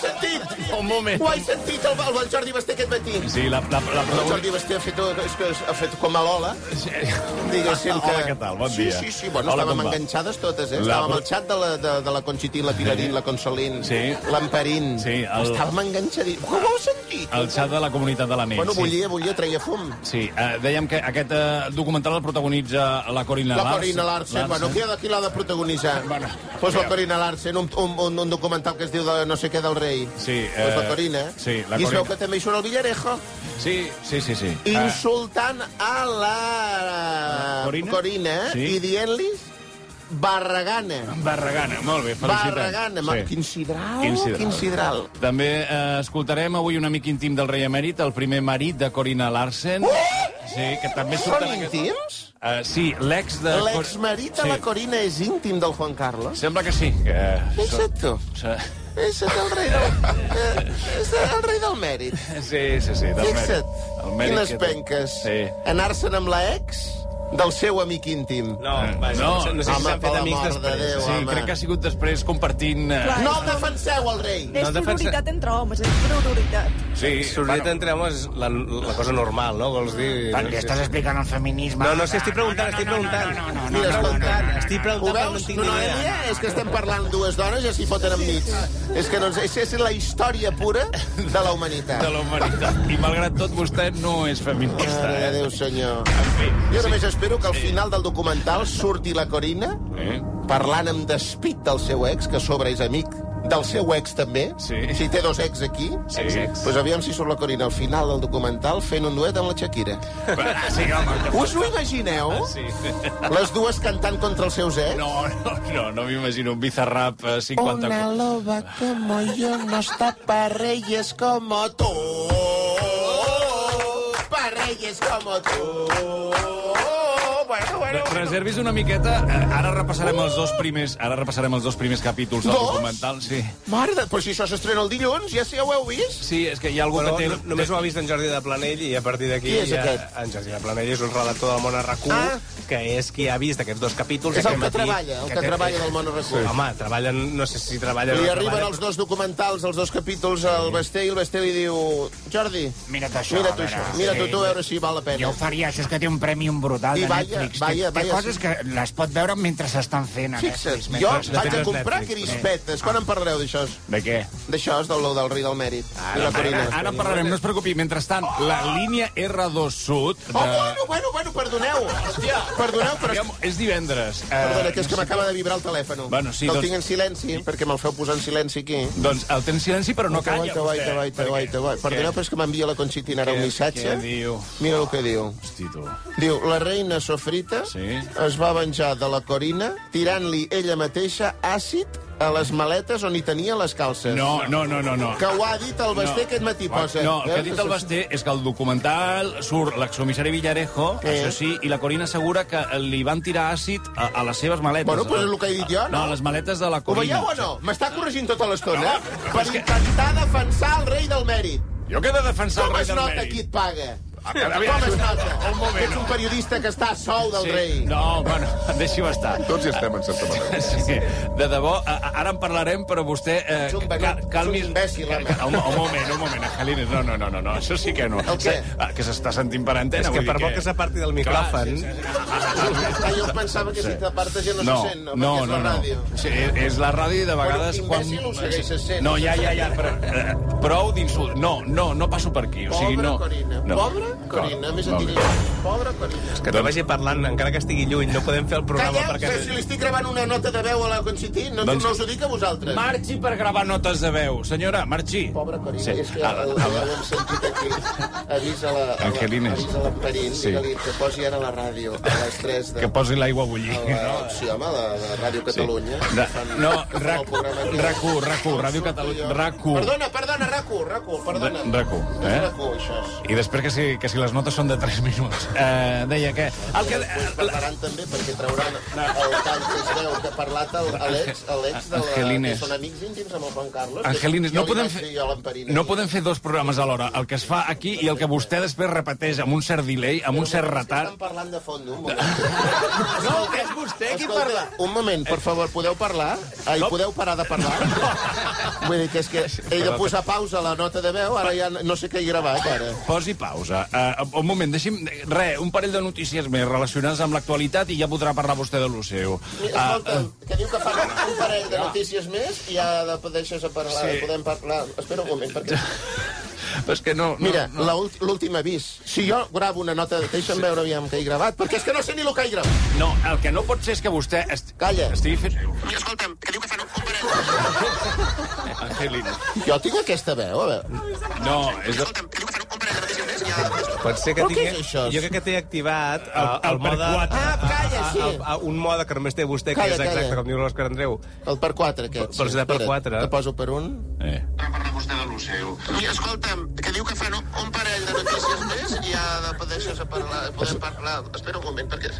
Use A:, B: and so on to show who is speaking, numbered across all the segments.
A: sentit!
B: Un moment.
A: Ho he sentit, el, el Jordi Basté aquest matí.
B: Sí, la, la, la,
A: El
B: la,
A: Jordi Basté ha fet, eh, és que ha fet com a l'Ola, diguéssim que...
B: Ah, Hola, què tal? Bon dia.
A: Sí, sí, sí. Bueno,
B: Hola,
A: estàvem
B: com va?
A: enganxades totes, eh?
B: La-
A: Estàvem al xat de la, de, de la Conchití, la Pilarín,
B: Sí.
A: la Consolín,
B: Sí.
A: l'Emparín.
B: Sí, el-
A: Estàvem enganxadits. Com ho heu sentit?
B: el xat de la comunitat de la nit.
A: Bueno,
B: sí.
A: bullia, bullia, treia fum.
B: Sí, eh, dèiem que aquest eh, documental el protagonitza la Corina
A: La
B: Lars.
A: Corina Larsen, bueno, qui, ha de- qui l'ha de protagonitzar?
B: Bueno,
A: pues la
B: mira.
A: Corina Larsen, un, un, un, un documental que es diu de no sé què del rei.
B: Sí,
A: pues la
B: eh,
A: Corina.
B: sí, la
A: I es
B: Corina.
A: veu que també hi surt el Villarejo,
B: Sí, sí, sí. sí. Eh,
A: insultant a la
B: Corina?
A: Corina
B: Sí.
A: i dient-li barragana.
B: Barragana, molt bé, felicitem.
A: Barragana, sí. quin sidral,
B: Quin sidral.
A: quin sidral.
B: També eh, escoltarem avui un amic íntim del rei emèrit, el primer marit de Corina Larsen. Sí, que també surt
A: Són
B: en aquest...
A: íntims?
B: Eh, sí, l'ex de...
A: L'exmarit de
B: sí.
A: la Corina és íntim del Juan Carlos?
B: Sembla que sí. Que...
A: Pensa't tu,
B: so-
A: és el rei del, eh, és el rei del mèrit.
B: Sí, sí, sí, del mèrit.
A: Fixa't,
B: El mèrit
A: quines
B: que té.
A: penques.
B: Sí.
A: Anar-se'n amb la ex del seu amic íntim.
C: No,
B: No,
C: vaja, Eh, no, no, sé si
A: home,
C: s'han
A: per
C: fet
A: la
C: amics
A: mort de
C: després.
A: Déu.
B: Sí,
A: home.
B: crec que ha sigut després compartint... eh,
D: Clar.
A: No el defenseu, el rei!
D: És
C: defensa-
D: sororitat entre homes, és sororitat.
B: Sí,
C: Sorret entre homes és la, la cosa normal, no? Vols dir...
E: Perquè estàs explicant el feminisme.
C: No, no, sí, estic preguntant, estic preguntant.
E: No, no,
A: Mira,
E: no, no, no, no,
A: escolta,
E: no, no, no.
C: Estic
A: Ho
C: preguntant, però no
A: veus,
C: en tinc
A: tu,
C: ni
A: Noelia?
C: idea.
A: És que estem parlant dues dones i ja s'hi foten enmig. És que no, ens- és, és la història pura de la humanitat.
B: de la humanitat. I malgrat tot, vostè no és feminista.
A: Mare de
B: Eh?
A: Déu, senyor.
B: En fi,
A: Ah, Jo
B: sí.
A: només espero que al final del documental surti la Corina
B: Eh?
A: parlant amb despit del seu ex, que a sobre és amic del seu ex també.
B: Sí.
A: Si té dos ex aquí,
B: Sí.
A: doncs pues aviam si surt la Corina al final del documental fent un duet amb la Shakira.
B: Ah, sí, home,
A: Us ho imagineu?
B: sí.
A: Les dues cantant contra els seus ex?
B: No, no, no, no m'imagino un bizarrap eh, 50...
A: loba como yo no está para reyes como tú. Para reyes como tú. Bueno, bueno.
B: Reservis una miqueta. eh, Ara repassarem els dos primers, ara repassarem els dos primers capítols del
A: Dos?
B: documental. Sí.
A: Mare de... Però si això s'estrena el dilluns, ja, sé, ja ho heu vist?
B: Sí, és que hi ha algú
C: Però
B: que té...
C: no- només ho ha vist en Jordi de Planell i a partir d'aquí...
A: Qui és
C: ja-
A: aquest?
C: En Jordi de Planell és un relator del món a RAC1
A: Ah.
C: que és qui ha vist aquests dos capítols.
A: És el que
C: aquest matí.
A: treballa, el que treballa del món
C: Sí.
A: recurs.
C: Home, treballen... No sé si treballen... o
A: Li
C: no
A: arriben
C: treballen,
A: els dos documentals, els dos capítols, al Basté, i el Basté li diu... Jordi,
E: Mira't això,
A: mira't
E: a
A: això,
E: veure,
A: mira't-ho
E: sí.
A: tu, a veure si val la
E: Jo
A: pena.
E: ho faria, això és que té un premi un brutal
A: I
E: de
A: vaya,
E: Netflix.
A: vaya,
E: té, té
A: vaya,
E: coses
A: sí.
E: que les pot veure mentre s'estan fent a
A: Fixa't,
E: Netflix. Ah.
A: jo
E: mentre-
A: vaig a
C: Netflix,
A: comprar
C: Netflix,
A: crispetes. Quan en parlareu, d'això?
B: De què?
A: D'això, del, del rei del mèrit. I la
B: Ara,
A: Corina.
B: ara parlarem, no es preocupi. Mentrestant, la línia R2 Sud... eh,
A: Oh, bueno, bueno, bueno, perdoneu. Hòstia, perdoneu, però...
B: Aviam, és divendres. Eh,
A: Perdona, que és que m'acaba de vibrar el telèfon.
B: Bueno, sí,
A: que el
B: doncs-
A: tinc en silenci, perquè me'l feu posar en silenci aquí.
B: Doncs el tens silenci, però no calla,
A: te vai,
B: vostè.
A: te vai, te vai, te vai. Perdoneu, però és que m'envia la Conchitina ara un
B: Què-
A: missatge.
B: què diu?
A: Mira el que diu.
B: Hosti, tu.
A: Diu, la reina Sofrita
B: Sí.
A: es va venjar de la Corina tirant-li ella mateixa àcid a les maletes on hi tenia les calces.
B: No, no, no, no, no.
A: Que ho ha dit el Basté
B: No.
A: aquest matí, posa.
B: No, el que ha
A: Eh?
B: dit el Basté és que el documental surt l'excomissari Villarejo,
A: Sí.
B: això sí, i la Corina assegura que li van tirar àcid a, a les seves maletes.
A: Bueno, però és el que he dit jo, no?
B: No, a les maletes de la
A: Ho
B: Corina.
A: veieu o no? M'està corregint tota l'estona, eh?
B: No,
A: Per
B: és que-
A: intentar defensar el rei del mèrit.
B: Jo que he de defensar
A: Com
B: el rei
A: es
B: del
A: nota
B: mèrit.
A: qui et paga?
B: Aviam, aviam.
A: Com es nota?
B: Un moment.
A: Ets un periodista que està a sou del
B: Sí.
A: rei.
B: No, bueno, deixi-ho estar.
F: Tots hi estem, en certa manera.
B: Sí, de debò, a- a- ara en parlarem, però vostè... Eh,
A: Ets un
B: cal-
A: venut, ets
B: calmi's-
A: un imbècil,
B: Cal-
A: home.
B: Un, un moment, un moment, Angelines, no, no, no, no, no, això sí que no.
A: El què?
B: Ah, Que s'està sentint per antena,
C: És que
B: vull dir
C: per poc que s'aparti del micròfon...
A: Ah, jo pensava que si t'apartes ja no,
B: no,
A: se sent, no,
B: no,
A: perquè és
B: no,
A: la
B: no.
A: ràdio.
B: Sí, és- és la ràdio i de vegades...
A: Bueno,
B: quan...
A: imbècil ho segueixes sent.
B: No, ja, ja, ja, però, eh, prou d'insult. No, no, no passo per aquí. O sigui,
A: Pobra
B: no,
A: Corina.
B: no.
A: Pobra Corina, més et
B: molt bé.
A: diria. Pobra Corina.
C: Que no vagi parlant, encara que estigui lluny, no podem fer el programa
A: Calleu,
C: perquè...
A: perquè... si li estic gravant una nota de veu a la Conchití, no,
B: Doncs-
A: doncs... no us ho dic a vosaltres.
B: Marxi per gravar notes de veu. Senyora, marxi.
A: Pobra Corina,
B: Sí.
A: sí. és que
B: Ah,
A: el-
B: ah,
A: el- l'hem sentit aquí. Avisa la, a la,
B: Angelines.
A: avisa l'Amperín,
B: Sí.
A: sí. digue-li que posi ara la ràdio a les 3 de...
B: Que posi l'aigua a bullir.
A: a la, sí, home, a la, a la Ràdio Catalunya.
B: De,
A: Fan-
B: no,
A: fan el
B: rac,
A: programa aquí.
B: RAC1, RAC1, Ràdio
A: Jo.
B: Catalunya, RAC1.
A: Perdona, perdona, RAC1, RAC1, perdona.
B: De- RAC1, eh?
A: És RAC1, això.
B: I després que si, que si les notes són de 3 minuts. eh, deia que... El que...
A: Després parlaran també, perquè trauran el tall que es veu que ha parlat el, a l'ex, a l'ex de la, que
B: Angelines.
A: són amics íntims amb el Juan Carlos. que
B: Angelines,
A: jo
B: no
A: li
B: podem,
A: vaig
B: fer,
A: dir jo a l'Amparina
B: no
A: ahir.
B: podem fer dos programes alhora. El que es fa aquí i el que vostè després repeteix amb un cert delay, amb un cert retard.
A: Estan parlant de fons, un moment.
C: No, que és vostè qui
A: Escolta,
C: parla.
A: Un moment, per favor, podeu parlar? Ai, podeu parar de parlar? Vull dir que és que he de posar pausa a la nota de veu, ara ja no sé què hi gravar, cara.
B: Posi pausa. Uh, un moment, deixi'm... Re, un parell de notícies més relacionades amb l'actualitat i ja podrà parlar vostè de lo seu. Ah,
A: Escolta, que diu que fa un parell de notícies més i ja de- deixes a parlar,
B: Sí.
A: podem parlar. Espera un moment, perquè...
B: Però és que no... no
A: Mira,
B: no.
A: la ulti- l'últim avís. Si jo gravo una nota, deixa'm veure aviam què he gravat, perquè és que no sé ni el que he gravat.
B: No, el que no pot ser és que vostè... Est...
A: Calla.
B: Estigui fent...
F: I escolta'm, que diu que fan un parell.
B: Angelina.
A: Jo tinc aquesta veu, a veure.
B: No, és... de-
F: Escolta'm, que diu que fan un parell de notícies més. Ja...
C: Pot ser que
A: Però
C: tingui...
A: què és això?
C: Jo crec que té activat el, el,
B: el per
C: mode...
B: quatre.
A: Ah, calla, sí.
C: el- el- un mode que només té vostè, que
A: Calla,
C: és exacte,
A: calla.
C: com diu l'Òscar Andreu.
A: El per 4, aquest.
C: Però serà per
A: Espera't,
C: quatre.
A: El poso per un.
B: Eh.
F: Ara parla vostè de lo seu. I escolta'm, que diu que fan un- un parell de notícies més i ja de- deixes a parlar, podem parlar. Espera un moment, perquè...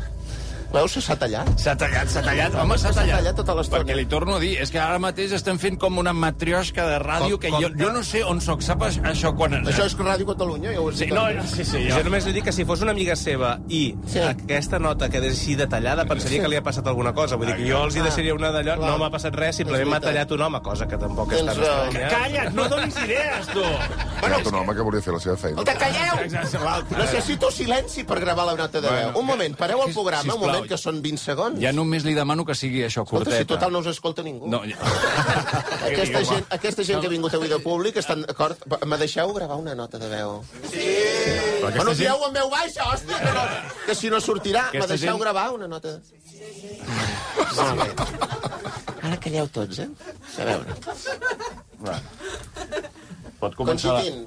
A: Veus, s'ha tallat.
B: S'ha tallat, s'ha tallat, home, s'ha
A: S'ha
B: tallat.
A: tallat tota l'estona.
B: Perquè li torno a dir, és que ara mateix estem fent com una matriosca de ràdio
C: Com-
B: que
C: com-
B: jo, jo no sé on soc, sap això- això quan...
A: Això és Ràdio Catalunya, ja ho has
B: Sí,
A: dit.
B: no, sí, sí,
C: Jo
B: jo...
C: només li dic que si fos una amiga seva i
A: Sí.
C: sí. aquesta nota quedés així detallada, pensaria que li ha passat alguna cosa. Vull dir que jo els hi deixaria una d'allò,
A: clar.
C: no m'ha passat res, simplement
A: És
C: m'ha
A: veritat.
C: tallat un home, cosa que tampoc és
A: Tens
C: tan
A: raó.
C: estranya.
B: Calla't, no donis idees, tu!
G: Bueno, un home que volia fer la seva feina.
A: Escolta, calleu!
B: Exacte, l'altre.
A: Necessito silenci per gravar la nota de veu.
B: Bueno,
A: un moment, pareu el
B: si-
A: programa,
B: sisplau.
A: un moment, que són 20 segons.
B: Ja només li demano que sigui això,
A: Escolta,
B: curteta.
A: si total no us escolta ningú.
B: No, ja...
A: Aquesta gent, aquesta gent que ha vingut avui de públic estan d'acord? Me deixeu gravar una nota de veu? Sí! Bueno,
B: gent-
A: dieu en veu baixa, hòstia, que, no, que si no sortirà. Me
B: Aquesta
A: deixeu
B: gent-
A: gravar una nota? Sí, sí. Molt bé. Ara calleu tots, eh? A veure.
B: Pot
A: Conchitín,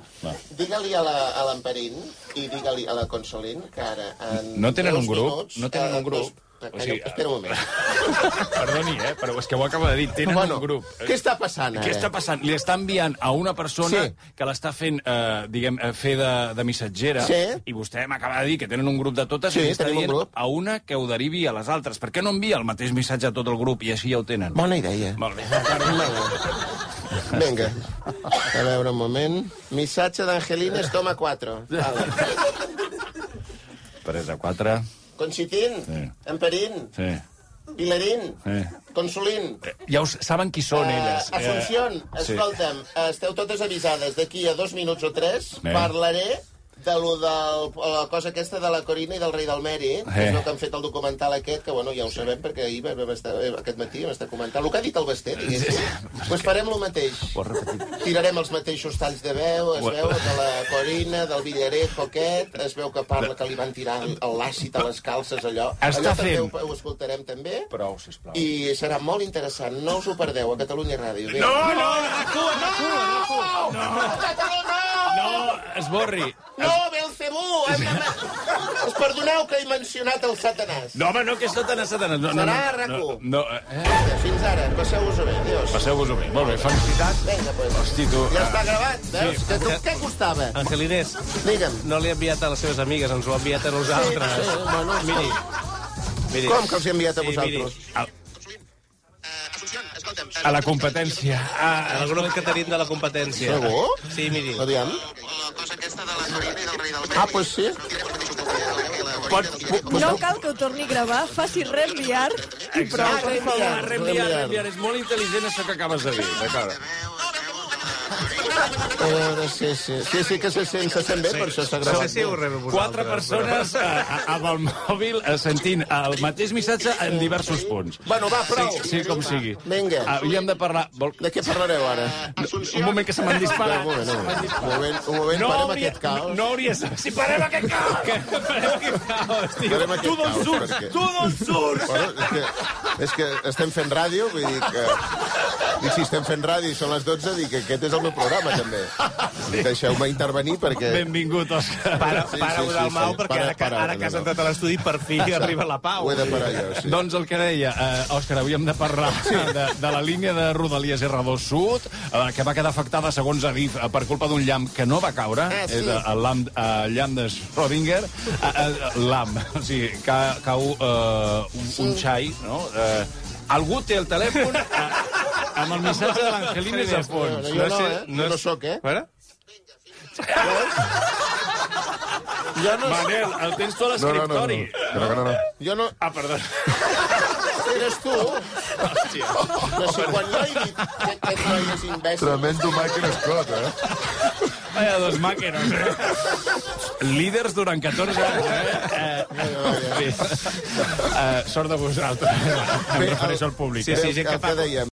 A: digue-li a la- a l'Amperín i digue-li a la Consolín que ara... En
B: No tenen
A: dos
B: un grup,
A: Minuts,
B: no tenen
A: eh,
B: un grup.
A: Dos...
B: O sigui,
A: espera un moment.
B: Perdoni, eh, però és que ho acaba de dir. Tenen
A: bueno,
B: un grup.
A: què està passant, ara?
B: Què està passant? Li està enviant a una persona
A: Sí.
B: sí. que l'està fent, eh, diguem, eh, fer de, de missatgera,
A: Sí.
B: i vostè m'acaba de dir que tenen un grup de totes,
A: Sí,
B: i li està
A: tenim un
B: dient
A: grup.
B: a una que ho derivi a les altres. Per què no envia el mateix missatge a tot el grup i així ja ho tenen?
A: Bona idea.
B: Molt bé.
A: Vinga. A veure, un moment. Missatge d'Angelines, toma 4. Vale.
B: 3 a 4.
A: Conchitín,
B: Sí.
A: Amperín,
B: Sí.
A: Pilarín,
B: Sí. Eh,
A: Consolín,
B: Ja us, saben qui són
A: eh,
B: elles. Eh,
A: Asunción,
B: sí.
A: escolta'm, esteu totes avisades. D'aquí a dos minuts o tres
B: Bé.
A: parlaré de lo del, la cosa aquesta de la Corina i del rei del Meri,
B: Eh.
A: que és el que han fet el documental aquest, que bueno, ja ho sabem, perquè ahir vam estar, eh, aquest matí vam estar comentant. El que ha dit el Basté, diguéssim. Doncs pues farem el mateix. Tirarem els mateixos talls de veu, es veu de la Corina, del Villarejo aquest, es veu que parla que li van tirar el l'àcid a les calces, allò. allò
B: Està
A: també
B: fent.
A: ho, ho escoltarem també.
B: Prou, sisplau.
A: I serà molt interessant. No us ho perdeu a Catalunya Ràdio. Vinga.
B: No, no, RAC1,
A: No!
B: RAC1, no! Esborri.
A: No, Belcebú! Hem de... Us perdoneu que he mencionat el satanàs.
B: No, home, no, que és tot anar satanàs. No, no, no,
A: Serà
B: no,
A: RAC1.
B: no, eh?
A: Fins ara, passeu-vos-ho bé. Adiós.
B: Passeu-vos-ho bé. Molt bé, felicitats.
A: Vinga, pues.
B: Hosti, tu...
A: Ja està gravat, veus? Que tu, què costava?
C: Angelines,
A: Digue'm.
C: no l'he enviat a les seves amigues, ens ho ha enviat a nosaltres.
A: Sí, sí, bueno, escolta.
C: miri, miri.
A: Com que els he enviat a
C: Sí,
A: vosaltres?
C: miri,
F: Uh, Asunción, escolta'm...
B: a la competència. Ah,
C: el grup que tenim de la competència.
A: Segur?
C: Sí, miri.
A: Aviam.
F: La cosa aquesta de la Corina i del rei del Medi.
A: Ah, pues sí.
B: pot, pot,
D: No cal que ho torni a gravar, faci reenviar i prou, per favor.
A: Reenviar,
B: Reenviar,
A: reenviar.
B: reenviar. És molt intel·ligent això que acabes de dir. D'acord.
A: A veure, Eh, sí, sí. Sí, sí que se sent, se sent bé, per això s'ha
C: No sé
A: gravat.
C: si ho rebo vosaltres.
B: Quatre persones eh, amb el mòbil eh, sentint el mateix missatge en diversos punts.
A: Bueno, va, prou.
B: Sí, sí, com sigui.
A: Vinga.
B: Havíem de parlar... Vol...
A: De què parlareu ara?
B: Eh, Un moment que se m'han
A: Espera, un
B: disparat.
A: moment, un moment. Un moment, un moment,
B: No
A: parem
B: hauria,
A: aquest caos.
B: no hauria... Si parem aquest caos! Que parem aquest caos, tio.
A: Parem aquest
B: Tu d'on
A: caos,
B: surts?
A: perquè-
B: Tu d'on surts?
A: Bueno, és, que, és que estem fent ràdio, vull dir que... Dic, si estem fent ràdio i són les 12, dic que aquest és és el meu programa, també. Sí. Deixeu-me intervenir perquè...
B: Benvingut, Òscar.
C: Para,
A: Sí,
C: para
A: sí,
C: Eudald
A: sí,
C: Mau,
A: sí.
C: perquè
A: Para,
C: ara, que,
A: para,
C: ara que has
A: Eudald.
C: entrat a l'estudi, per fi arriba la pau.
A: Ho he de parar jo, sí.
B: Doncs el que deia, eh, Òscar, avui hem de parlar de, de la línia de Rodalies R2 Sud, eh, que va quedar afectada, segons Adif, eh, per culpa d'un llamp que no va caure,
A: Ah, sí.
B: és eh, el llamp, eh, llamp de Schrödinger, eh, eh, llamp, o sigui, ca, cau eh, un, un xai, no? Eh, algú té el telèfon eh, amb el missatge de l'Angelina és a
A: No,
B: fons.
A: jo no,
C: sé-
A: eh?
C: no
A: No, no
C: sé-
A: sóc, eh?
C: A veure?
A: Jo no,
B: Manel, el tens tu a
G: No, no, no. no,
B: l'escriptori.
G: no, no, no.
A: jo no... Ah,
B: Ah, perdó.
A: Eres tu?
B: Hòstia.
A: Però si quan jo he dit que aquest noi és imbècil...
G: Tremendo Michael Scott, eh?
B: Vaya dos màquenos, eh? Líders durant 14 anys, eh? eh, eh, eh sort de vosaltres. Em refereixo al públic.
C: Sí, sí, gent que
A: el
C: fa
A: que dèiem,